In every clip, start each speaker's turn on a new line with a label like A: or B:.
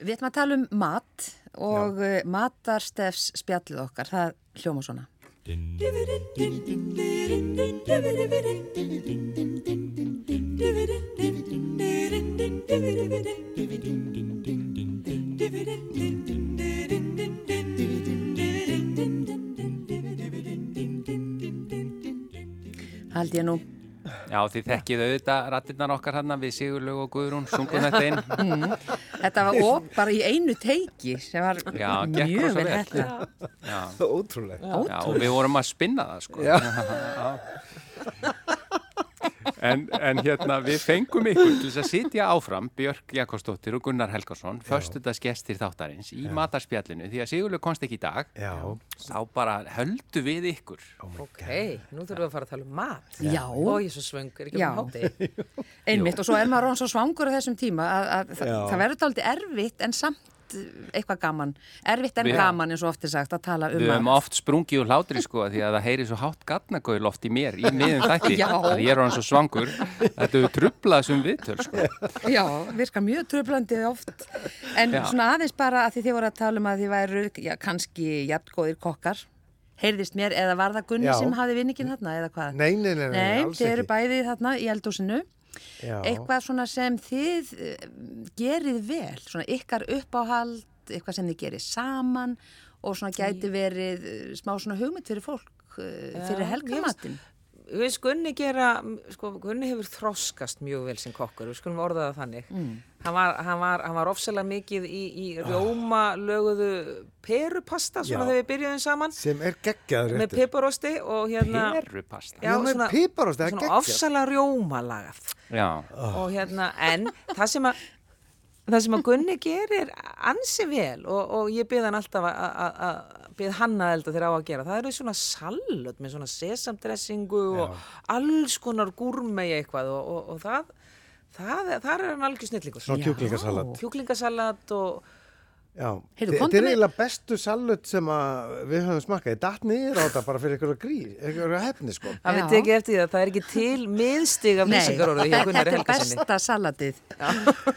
A: Við ætlum að tala um mat og Já. matarstefs spjallið okkar, það hljóma svona. Haldi ég nú.
B: Já, því þekkið auðvitað rattinnar okkar hann við Sigurlaug og Guðrún, sungum þetta inn.
A: Þetta var op bara í einu teiki sem var
B: Já, gekk
A: mjög
B: rosa
A: vel
B: vel.
A: þetta.
B: Já,
C: Ótrúlega.
B: já, og við vorum að spinna það sko.
C: Já.
B: En, en hérna, við fengum ykkur til þess að sitja áfram, Björk Jakobsdóttir og Gunnar Helgarsson, förstudagsgestir þáttarins í matarspjallinu, því að Sigurlaug komst ekki í dag,
C: Já.
B: þá bara höldu við ykkur.
D: Ok, nú þurfum við að fara að tala um mat.
A: Já.
D: Og ég er svo svöng, er ekki
A: Já.
D: um hátti.
A: Einmitt og svo er maður án svo svangur á þessum tíma að, að þa-
C: Já.
A: það verður aldrei erfitt en samt eitthvað gaman. Erfitt en
B: Við-
A: gaman eins og ofti sagt að tala um
B: Við höfum
A: mat.
B: oft sprungið úr hlátri sko því að það heyri svo hátt gatnagauð loft í mér í miðum þætti
A: Já.
B: að ég er hann svo svangur þetta hefur trublað sem viðtöl sko
A: Já, virka mjög tröflandi oft. En
B: Já.
A: svona aðeins bara að því þið voru að tala um að þið væru já, kannski jafngóðir kokkar. Heyrðist mér eða var það Gunni
C: Já.
A: sem hafi vinningin þarna eða hvað?
C: Nei, nei, nei, nei, alls
A: þið eru
C: ekki.
A: bæði þarna í eldhúsinu.
C: Já.
A: Eitthvað svona sem þið eh, gerið vel, svona ykkar uppáhald, eitthvað sem þið gerið saman og svona gæti verið eh, smá svona hugmynd fyrir fólk, eh, fyrir
D: Já,
A: helgamatin.
D: Við veist, Gunni gera, sko, Gunni hefur þroskast mjög vel sem kokkur, við skulum orða það þannig.
A: Mm.
D: Hann var, hann var, hann var ofsalega mikið í, í rjóma löguðu perupasta, svona
C: Já.
D: þegar við byrjuðum saman,
C: Sem er geggjaður
D: með piparosti og hérna...
B: Perupasta
C: Já, með piparosti, það er
D: svona
C: geggjað.
D: ofsalega rjómalagað.
B: Já,
C: Ah.
D: og hérna, en það sem að það sem að Gunni gerir ansi vel og, og ég byrð hann alltaf að- að að- bið hann að elda þegar á að gera það eru svona sallut með svona sesamdressingu og alls konar gúrmei eitthvað og, og, og það það, það er hann algjör snillingur
C: Svona kjúklingasalat.
D: Já, kjúklingasalat og
C: Já,
A: Heyrðu,
C: Þe-
A: komdu
C: þetta er
A: með-
C: eiginlega bestu salut sem að við höfum smakkað. Ég datt niður á þetta bara fyrir einhverja gríð, einhverja hefni sko.
D: það
A: Já.
D: við tekið eftir því að það er ekki til miðstig af lýsingarorðu hjá
A: þetta
D: Gunnari
A: er
D: Helgasinni
A: besta salatið.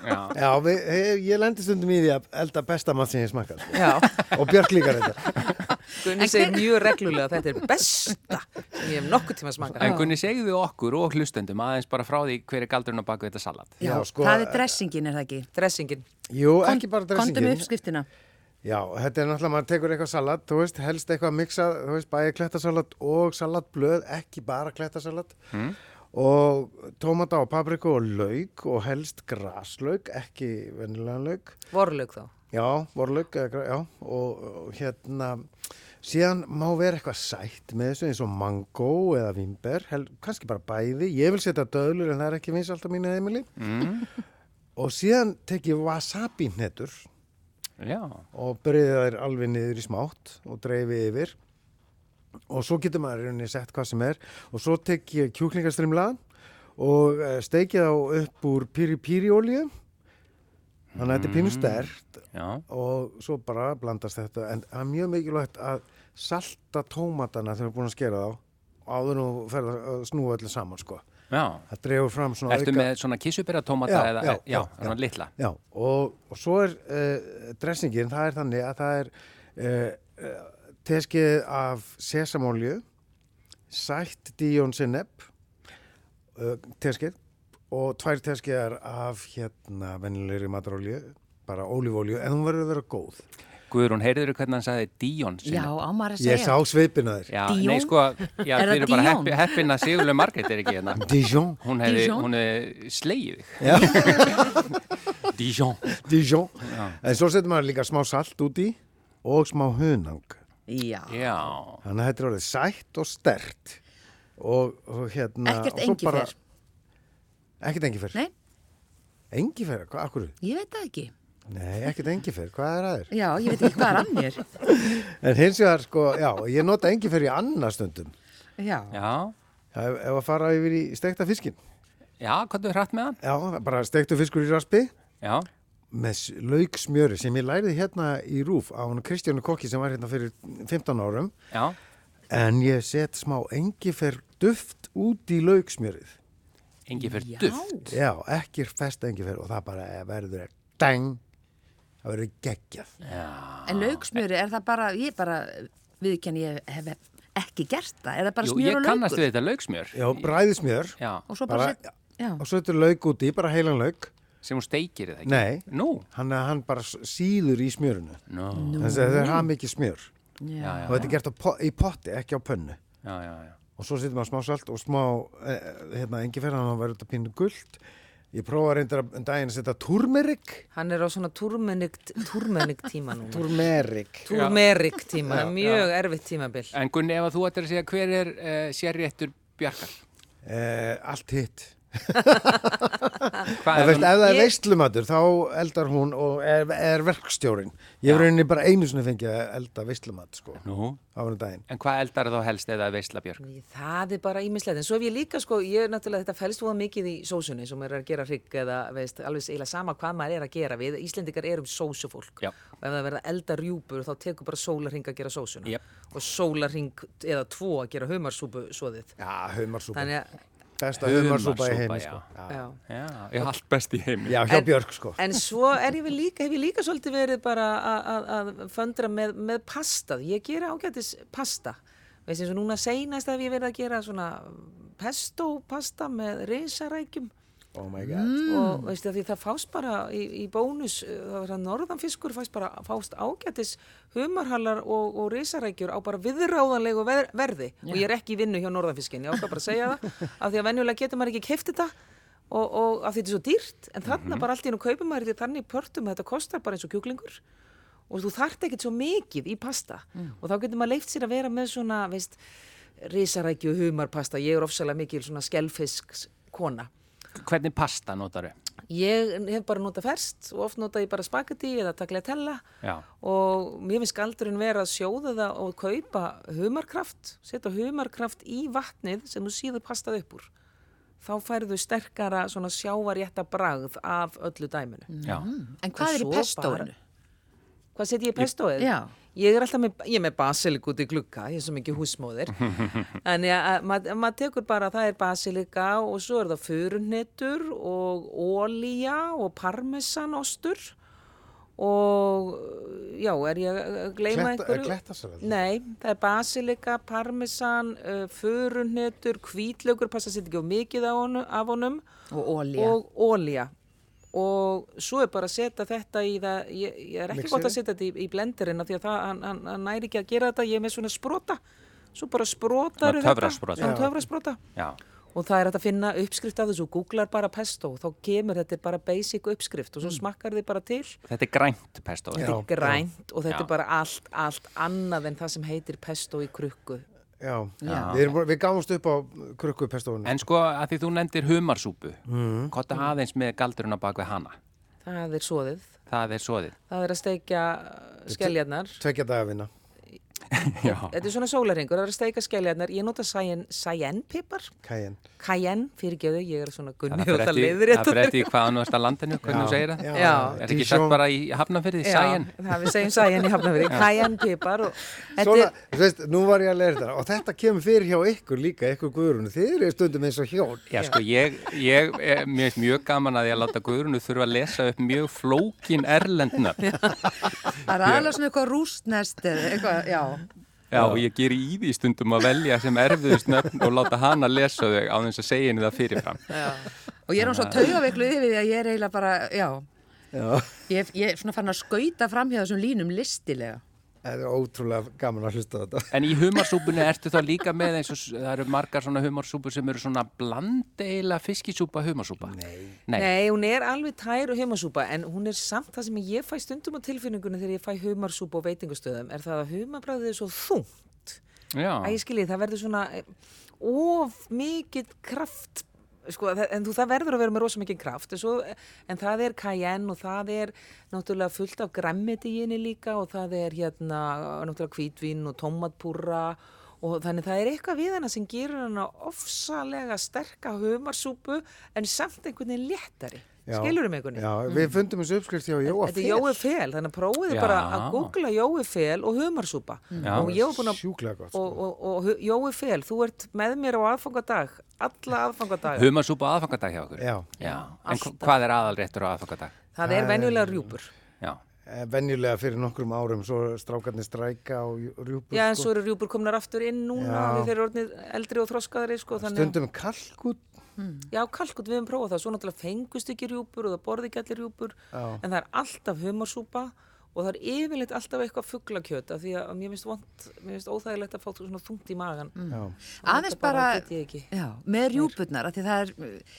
B: já,
C: Já, við, ég, ég lendi stundum í því að elda besta mat sem ég smakkað. Sko.
D: Já,
C: Og Björk líka þetta.
D: Gunni
A: En
D: segir
A: hver-
D: mjög reglulega að þetta er besta sem ég hef nokkuð tíma smakað
B: en Gunni segðu okkur og hlustendum aðeins bara frá því hver er galdurinn á baku þetta salat
A: Já,
C: Já, sko,
A: það er dressingin, er það ekki?
D: dressingin
C: Jú, ekki bara
A: Kondum
C: dressingin.
A: uppskriftina.
C: Já, þetta er náttúrulega, maður tekur eitthvað salat, þú veist, helst eitthvað miksað, þú veist, bæði klettasalat og salatblöð, ekki bara klettasalat. Mm. Og tómata og papriku og lauk og helst graslauk, ekki vennilegan lauk.
D: vorlaug þá
C: Já, vorlaug, eða gra- já, og, og hérna, síðan má vera eitthvað sætt með þessu eins og mango eða vimber, hel, kannski bara bæði, ég vil setja döðlur en það er ekki vins alltaf mínu heimili. Mm. Og síðan tek ég wasabi hnetur
B: Já,
C: og byrja þær alveg niður í smátt og dreifi yfir og svo getur maður í rauninni sett hvað sem er og svo tek ég kjúklingastrimla og eh, steiki þá upp úr piri-piri olíu þannig að þetta er
B: Mm.
C: pínu stert
B: já,
C: og svo bara blandast þetta en það er mjög mikilvægt að salta tómatana þegar þú er búin að skera þá áður nú ferð að snúa öllu saman sko.
B: já
C: það dreifur fram svona
B: Ertu með svona kissubera tómata
C: Já,
B: eða,
C: já,
B: já,
C: já,
B: svona litla
C: Já, og, og svo er uh, dressingin, það er þannig að það er uh, uh, teskið af sesamolju, sætt díjón sinneb, uh, teskið, og tvær teskiðar af hérna vennilegri matarolju, bara ólífolju, en hún verður að vera góð.
B: Guðrún, heyrður hvernig hann sagði Díón sinni?
A: Já, ámar að segja.
C: Ég sá sveipin að þér.
B: Já,
A: Díon?
B: nei sko, já,
A: Er
B: þið
A: það
B: eru bara
A: Díon?
B: heppi- heppin að Sigurlaug Margrét er ekki hérna
C: Dijon.
B: Hún hefði,
A: Díon?
B: hún hefði slegið þig
C: Já.
B: Díón
C: Dijon. En svo setur maður líka smá salt út í og smá hunang.
A: Já.
C: hérna,
B: Já,
C: Þannig að þetta er orðið sætt og stert og, og hérna
A: Ekkert
C: og svo
A: engifer?
C: Ekkert engifer?
A: Nei,
C: Engifer, hvað, akkur?
A: ég veit það ekki.
C: Nei, ekkert engifer, hvað er aðeir?
A: Já, ég veit ekki hvað er að mér.
C: En hins vegar, sko, já, ég nota engifer í annað stundum
A: Já.
B: já
C: Já, ef, ef að fara yfir í steikta fiskin
B: Já, hvað er hrætt með hann?
C: Já, bara steiktu fiskur í raspi
B: Já,
C: með s- lauksmjöri sem ég læriði hérna í rúf á hann Kristjánu Kokki sem var hérna fyrir 15 árum
B: já,
C: en ég set smá engifer duft út í lauksmjörið
B: engi fyrir
A: Já.
B: duft.
C: Já, ekki fest engifer og það bara verður deng það verður geggjað
A: En lauksmjöri, er það bara, ég bara, viðkenni, ég hef ekki gert það. Er það bara
B: Jú,
A: smjör
B: ég
A: og
B: kannast
A: laukur?
B: við þetta laugsmjör.
C: já, bræðismjör
B: Já,
A: Og svo bara,
C: bara,
A: set, já,
C: og svo þetta er lauk úti, bara heilan lauk
B: sem hún steikir eða ekki.
C: nei,
B: Nú,
C: hann, hann bara s- síður í smjörinu
B: nú,
C: þannig að þetta er hafa mikið smjör
A: já,
B: já,
C: og þetta er gert á po- í potti, ekki á pönnu
B: já, já, já.
C: og svo setur maður smá salt og smá eh, hérna, engiferðan og verður þetta pínu guld ég prófa reyndar að- um daginn að setja turmerik
D: Hann er á svona turmenikt, turmenikt tíma núna.
C: turmerik
D: Turmerikt tíma, það er mjög erfitt tímabil.
B: En Gunni, ef að þú ættir að segja hver er uh, sérréttur Bjarkar?
C: eh, allt hitt
B: Hvað
C: En
B: er svona?
C: veist, ef það er
D: Ég-
C: veistlumatur þá eldar hún og er, er verkstjórin ég hef rauninni bara einu sinni fengið að elda veistlumat sko,
B: Nú,
C: á hann daginn
B: en hvað eldar þá helst eða veistla Björk?
D: Það er bara ímislegt, en svo hef ég líka sko, ég er náttúrulega, þetta fælst fóða mikið í sósunni sem er að gera hrygg eða veist, alveg eiginlega sama hvað maður er að gera við, Íslendingar erum sósufólk
B: Já.
D: og ef það verða elda rjúpur þá tekur bara sólarhing að gera sósuna
B: Jep.
D: og sólarhing eða tvo að gera humarsúpu svoðið.
C: já, humarsúpa,
D: Þannig að,
C: besta humarsúpa í
B: Humarsúpa,
C: heimi sko. já.
D: já.
B: Já, ég allt best í heimi.
C: já, hjá
D: En-
C: Björk sko
D: En svo er ég vel líka, hef ég líka svolítið verið bara að- að- að föndra með, með pastað. Ég gera ágætis pasta. Veist eins og núna seinast hef ég verið að gera svona pesto pasta með risarækjum
C: oh my god,
D: og veist það því það fást bara í, í bónus, uh, það var að norðanfiskur fást bara fást ágætis humarhallar og, og risarækjur á bara viðráðanlegu ver, verði og ég er ekki í vinnu hjá norðanfiskin, ég ákvað bara að segja það af því að venjulega getur maður ekki keift þetta og, og af því þetta er svo dýrt en þarna bara allt í hennu kaupum maður þetta þannig í pörtum að þetta kostar bara eins og kjúklingur og þú þart ekkert svo mikið í pasta og þá getur maður leift sér að vera með svona, veist, risarækju humarpasta, ég er ofsalega mikil svona skelfisks kona
B: Hvernig pasta notar þau?
D: Ég hef bara notað ferskt og oft notað ég bara spagetti eða tagliatella
B: Já.
D: og mér finnst galdurinn vera að sjóða það og kaupa humarkraft, setja humarkraft í vatnið sem þú síður pastað upp úr. Þá færðu sterkara svona sjávarjætta bragð af öllu dæminu.
B: Já,
D: Mm.
A: En hvað er í
D: svo
A: pestóinu?
D: Hvað setjum ég í pestoið?
A: Já.
D: Ég er alltaf með, ég er með basilik út í glugga, ég er svo mikið húsmóðir. Þannig að að maður mað tekur bara, það er basilika og svo er það furunettur og ólíja og parmesanostur og já, er ég að gleyma
C: Kletta-
D: einhverju?
C: er klettasalat?
D: Nei, það er basilika, parmesan, uh, furunettur, hvítlaugur, passa sér ekki of mikið af honum, af honum
A: Og ólja.
D: og ólja og svo er bara að setja þetta í það, ég, ég er ekki
C: Mixera?
D: gott að setja þetta í, í blenderinn af því að það, hann, hann, hann næri ekki að gera þetta, ég er með svona sprota svo bara sprotar
B: Svona töfrasprota.
D: þetta, svona töfrasprota
B: já.
D: og það er hægt að finna uppskrift af þessu, googlar bara pesto og þá kemur þetta er bara basic uppskrift og svo smakkar þið bara til
B: Þetta er grænt pesto.
C: Já.
D: þetta er grænt og þetta
B: Já.
D: er bara allt, allt annað en það sem heitir pesto í krukku
C: já, Við, erum, við gáumst upp á krukku pestóinu
B: En sko, að því þú nefndir humarsúpu, mm. kotta aðeins með galdurinn á bak við hana.
D: það er svoðið,
B: Það er svoðið.
D: það er að steikja skelljarnar
C: tvekja dagafina
B: Já.
D: Þetta er svona sólaringur, það er að steika skeljarnar. Ég nota cayenne, cayenne pipar,
C: kæin
D: cayenne, fyrirgeðu, ég er svona gunni og
B: Það fyrir
D: það
B: eftir-
D: leiðir
B: það fyrir eftir í hvaðan þú ert að landinu, hvernig þú segir það.
C: já,
D: Já.
B: Er þetta ekki sagt bara í hafnafyrði, sæjan?
D: það við segjum cayenne í hafnafyrir, cayenne pipar og þetta
C: Svona,
D: er,
C: þú veist, nú var ég að leira þetta og þetta kemur fyrir hjá ykkur líka, ykkur guðrunu þið eru stundum eins og hjón
B: Já, sko, ég, ég, eh, mér finnst mjög gaman að ég láta Guðrunu þurfa að lesa upp mjög flókin erlendna.
A: Það er aðlega svona eitthvað rústnest eða eitthvað, já.
B: Já, og ég ger í því stundum að velja sem erfiðust nöfn og láta hana lesa þau á þess að segja henni það fyrirfram.
A: Og ég er hann svo taugaveikluð yfir því að ég er eiginlega bara, já. Ég, ég er svona farin að skauta fram hjá þessum línum listilega.
C: það er ótrúlega gaman að hlusta á þetta
B: En í humarsúpunni ertu þá líka með eins og s- það eru margar svona humarsúpur sem eru svona blandeila fiskisúpa humarsúpa? Nei. Nei,
D: nei, hún er alveg tær og humarsúpa, en hún er samt það sem ég fæ stundum á tilfinningunni þegar ég fæ humarsúpa á veitingustöðum, er það að humabræðið er svo þungt.
B: já.
D: Æ, ég skilji, það verður svona eh, of mikið kraft sko, þa- en þú, það verður að vera með rosa mikið kraft en, svo, en það er cayenne og það er náttúrulega fullt af græmmiti í henni líka og það er hérna náttúrulega hvítvin og tomatpúra og þannig það er eitthvað við hana sem gerur hana ofsalega sterka humarsúpu en samt einhvern veginn léttari
C: Já.
D: skilur um einhvern veginn
C: Já, við fundum þessu uppskrift hjá Jóa
D: Þetta er Jói Fel, þannig að prófiði
B: Já.
D: bara að googla Jói Fel og humarsúpa
B: Já.
D: og ég var búin að
C: Sjúklega gott, sko.
D: og, og, og Hu- Jói Fel, þú ert með mér á aðfangadag, alla aðfangadag
B: Humarsúpa á aðfangadag hjá okkur?
C: Já.
B: Já. En hva- hvað er aðalréttur á aðfangadag?
D: það er venjulega rjúpur
B: Já.
C: eh, venjulega fyrir nokkrum árum svo strákarnir stræka og rjúpur
D: Já, en
C: sko.
D: svo eru rjúpur komnar aftur inn núna
C: Já.
D: og þeir eru orðnið eldri og þroskaðari sko, þannig,
C: stundum kalkut
D: að- já, kalkut við höfum prófað það, svo náttúrulega fengust ekki rjúpur og það borði ekki allir rjúpur,
C: Já.
D: en það er alltaf humarsúpa og það er yfirleitt alltaf eitthvað fugglakjöt af því að mér finnst vond, mér finnst óþægilegt að fá svona þungt í magan.
C: já,
A: aðeins
D: Þetta
A: bara,
D: bara get ég ekki.
A: já, með rjúpurnar af því það er,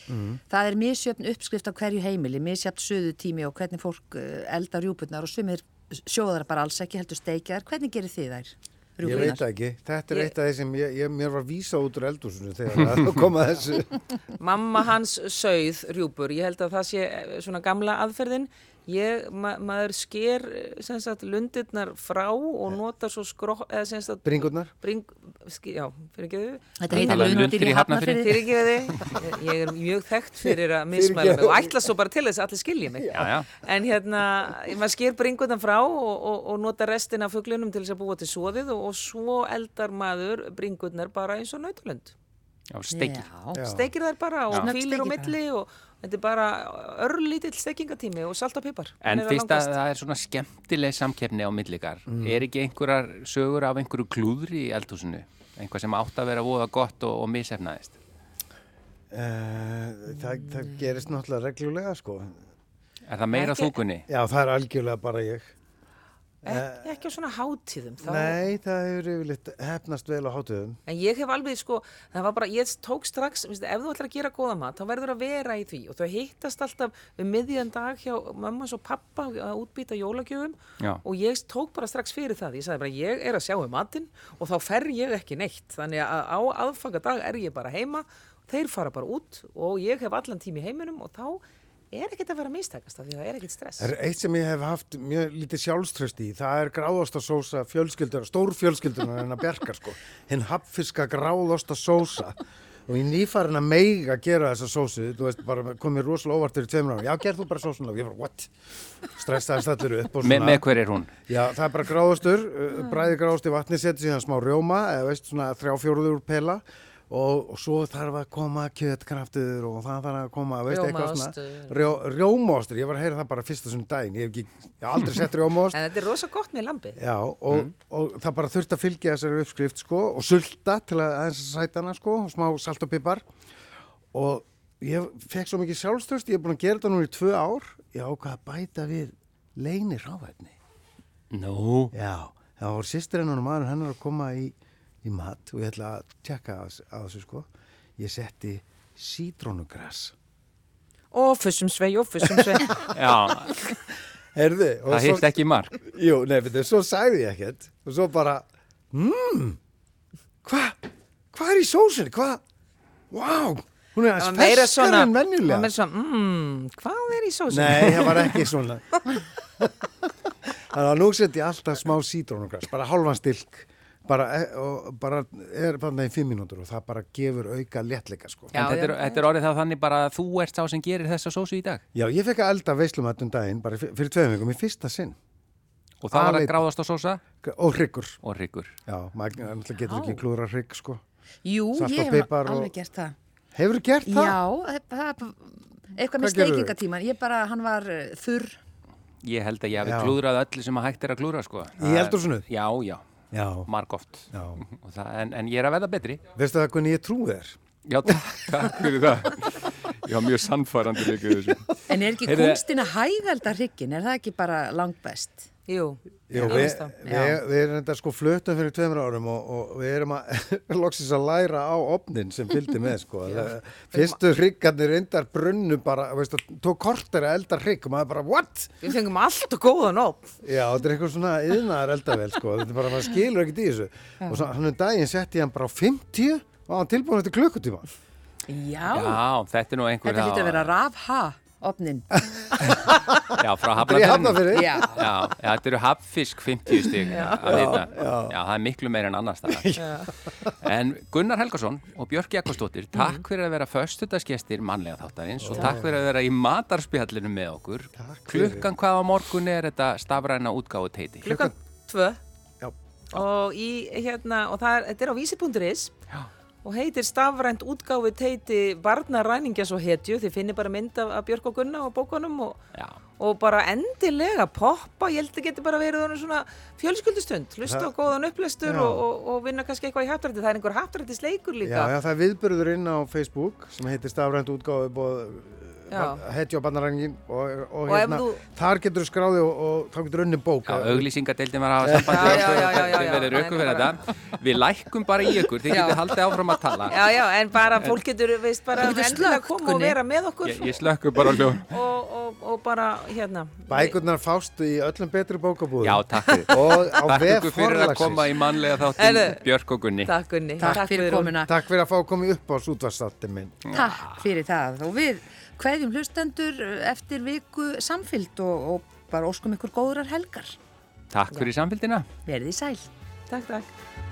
C: Mhm.
A: það er misjöfn uppskrift á hverju heimili, misjöfn söðu tími og hvernig fólk eh, eldar rjúpurnar og sumir sjóðar bara alls ekki heldur steikjar hvernig gerir þið þær?
C: ég
A: rjúpurnar?
C: veit það ekki þetta er
D: Ég-
C: eitt af því sem ég, ég, mér var vísa út úr eldhúsinu þegar það kom að þessu
D: Mamma hans sauð rjúpur, ég held að það sé eh, svona gamla aðferðin. Ég, ma maður sker eh, sem sagt lundirnar frá og notar svo skrók, eða sem sagt
C: bringurnar
D: bring, ski, já, fyrir ekki þau?
A: Þetta heitir
B: Tala um
A: lundir í
B: lundir í Hafnarfirði.
A: hafnafyrir
D: Fyrir ekki þau? Ég er mjög þekkt fyrir að mismæla mig og ætla svo bara til þess að allir skilja mig.
B: Já, já.
D: En hérna, maður sker bringutan frá og, og, og notar restina af fuglunum til þess að búa til svoðið og, og svo eldar maður bringutnar bara eins og nautalönd.
B: Já, steikir.
A: Já,
D: Steikir þær bara og
A: Snögg
D: kvílir á
A: steikir
D: milli og þetta er bara örlítill steikingatími og salt og pipar.
B: En fyrst að það er svona skemmtileg samkeppni á millikar,
C: Mm.
B: er ekki einhverjar sögur af einhverju klúðri í eldhúsinu? Einhvað sem átt að vera voða gott og, og misefnaðist?
C: Uh, það, það gerist náttúrulega reglulega sko.
B: Er það meira
D: Ekki-
B: þúkunni?
C: Já, það er algjörlega bara ég.
D: Ekki, ekki á svona hátíðum. Þá,
C: Nei, það hefur yfirleitt hefnast vel á hátuðum.
D: En ég hef alveg sko, það var bara, ég tók strax, minnst, ef þú ætlar að gera góða mat, þá verður að vera í því og þau hittast alltaf um miðjan dag hjá mammas og pappa að útbýta jólagjöfum
B: Já.
D: og ég tók bara strax fyrir það, ég sagði bara ég er að sjá um matinn og þá fer ég ekki neitt, þannig að á aðfanga dag er ég bara heima, þeir fara bara út og ég hef allan tími í heiminum og þá er ekkert að vera að mistakast af því að það er ekkert stress.
C: Er eitt sem ég hef haft mjög lítið sjálfströst í, það er gráðasta sósa fjölskyldur, stór fjölskyldunar en að bjarga sko. Hinn hapfiska gráðasta sósa. Og ég nýfarin að meiga að gera þessa sósu, þú veist, bara komið rosalega óvart fyrir tveimur ára. Já, gerð þú bara sósuna og ég bara, what? Stressaðist allir upp og
B: Me,
C: svona.
B: með hver er hún?
C: Já, það er bara gráðastur, uh, bræði gráðast í vatni, setja síðan smá rjóma, eða veist svona þrjá fjóruður úr pela og, og svo þarf að koma kjötkraftur og það þarf að koma, veist, eitthvað svona.
D: Rjómaostur.
C: Rjó, rjómaostur. Ég var að heyra það bara fyrsta sem daginn, ég hef ekki, ég hef aldrei sett rjómaost.
D: En þetta er rosa gott með lambið.
C: Já, og, og það bara þurfti að fylgja þessari uppskrift sko og sulta til að aðeins að sæta hana sko, og smá salt og pipar og ég fekk svo mikið sjálfstörst, ég er búin að gera þetta núna í tvö ár, ég ákvað að bæta við leini rávæfni.
B: Nú,
C: Já, það voru sýstir hennar og maður hennar að koma í, í mat og ég ætla að tjekka að, að þessu sko. Ég setti sítrónugras.
D: Ó, fussum svei, ó, fussum svei.
B: já,
C: Herði,
B: það hitt ekki í mark.
C: Jú, nei, betur, svo sagði ég ekkert og svo bara, mmm, hvað, hvað er í sósunni, hvað, vá,
D: Það
C: hún er
D: var
C: aðeins
D: meira
C: ferskar
D: svona,
C: en
D: það var
C: venjulega.
D: meira svona, mmm, hvað er í sósum?
C: Nei, það var ekki svona. Þannig að nú sett ég alltaf smá sítrónugras, bara hálfan stilk, bara, e- og bara er bara í fimm mínútur og það bara gefur auka léttleika sko.
D: Já,
B: En þetta er,
D: já.
B: þetta er orðið þá þannig bara að þú ert sá sem gerir þessa sósu í dag.
C: Já, ég fekk að elda veislumat um daginn, bara fyr- fyrir tveim vikum, í fyrsta sinn.
B: Og það var að
C: Aleit.
B: gráðast á sósa
C: K- Og hryggur.
B: og hryggur.
C: Já, maður náttúrulega getur ekki klúra hrygg sko.
A: Jú,
C: Salt og
A: ég hef
C: pipar og-
A: alveg gert það
C: Hefur gert það?
A: Já, það, það, eitthvað með
C: Hvað gerðu?
A: steikingatíman ég bara, hann var eh, þurr
B: Ég held að ég
C: Já.
B: hafi klúðrað öllu sem að hægt er að klúðra, sko. Það er-
C: eldhúsinu?
B: Já, já,
C: Já.
B: margóft.
C: Já.
B: En, en ég er að veða betri.
C: Veistu það hvernig ég trúi þér?
B: Já, takk, takk fyrir það. Ég var mjög sannfærandi líka þessu.
A: en er ekki
B: Heyrðu-
A: kunstin að hægalda hryggin er það ekki bara langbest?
D: Jú, ég
C: Jú, við,
D: veist það.
C: við, við erum þetta sko flötum fyrir tveimur árum og, og við erum að loksins að læra á opnin sem fylgdi með sko. Það- Fyrstu hryggarnir reyndar brunnu bara, veist, það tók kortir að elda hrygg og maður bara, what?
D: Við fengum allt og góðan op.
C: Já, þetta er eitthvað svona yðnaðar eldavel sko, þetta er bara, maður skilur ekkert í þessu. Og svo hann um daginn setti ég hann bara á 50 og hann tilbúin eftir klukkutíma.
A: Já,
B: Já, þetta er nú einhver...
A: þetta
B: þá-
A: hlýtt að vera rafha opnin
B: Já, frá
C: Það er
B: hafnafjörnum.
C: ég hafna fyrir.
A: Já,
B: Já, já, þetta eru haffisk 50 stig að vita. Já. það er miklu meira en annars það. En Gunnar Helgason og Björk Jakobsdóttir, takk fyrir að vera föstudagsgestir mannlega þáttarins og takk fyrir að vera í matarspjallinu með okkur.
C: Takk fyrir.
B: Klukkan hvað á morgun er þetta stafræna útgáðu teiti?
D: Klukkan tvö
C: Já.
D: og, í, hérna, og það er, þetta er á vísi.is og heitir stafrænt útgáfið teiti Barna ræningjas og hetju, þið finnir bara mynd af, af Björk og Gunna og bókunum og,
B: Já.
D: og bara endilega poppa, ég held að geti bara verið honum svona fjölskyldustund, hlusta á góðan upplestur
C: Já.
D: og, og, og vinna kannski eitthvað í hattrætti, það er einhver hattrættisleikur
C: Já,
D: líka.
C: já, það er viðbörður inn á Facebook sem heitir stafrænt eh, útgáfi bóð
D: Já.
C: hetju á bannarængin og, og,
D: Og ef
C: hérna,
D: þú-
C: þar getur þú skráði og, og þá getur unni bók. Eh,
B: Já, auglýsingadeildin var að hafa sambandi
D: Já, já, já, já, já,
B: Þið
D: já.
B: verður aukum fyrir þetta. Við lækkum bara í ykkur, þið
D: Já.
B: getið haldið áfram að tala.
D: Já, já, en bara fólk getur, veist, bara
A: Þú getur
D: endilega
A: slökkt,
D: koma og
A: Gunni.
D: vera með okkur
B: Ég, ég slökku bara ljó.
D: og, og, og bara, hérna.
C: Bækurnar fástu í öllum betri bókabúðum.
B: Já, takk fyrir.
C: Og á
B: Takk
C: vef
B: ykkur fyrir að
C: forlagsins.
B: koma í mannlega þáttin
D: Heyrðu.
B: Björk og Gunni.
D: Takk Gunni.
A: Takk, fyrir
D: Guðrún.
A: komuna.
C: Takk fyrir að fá að koma í upp á sútvarstáttin minn.
A: Takk fyrir það og við hverjum hlustendur eftir viku samfylgd og, og bara óskum ykkur góðrar helgar.
B: Takk fyrir samfélgina.
A: Verðið sæl.
D: Takk, takk.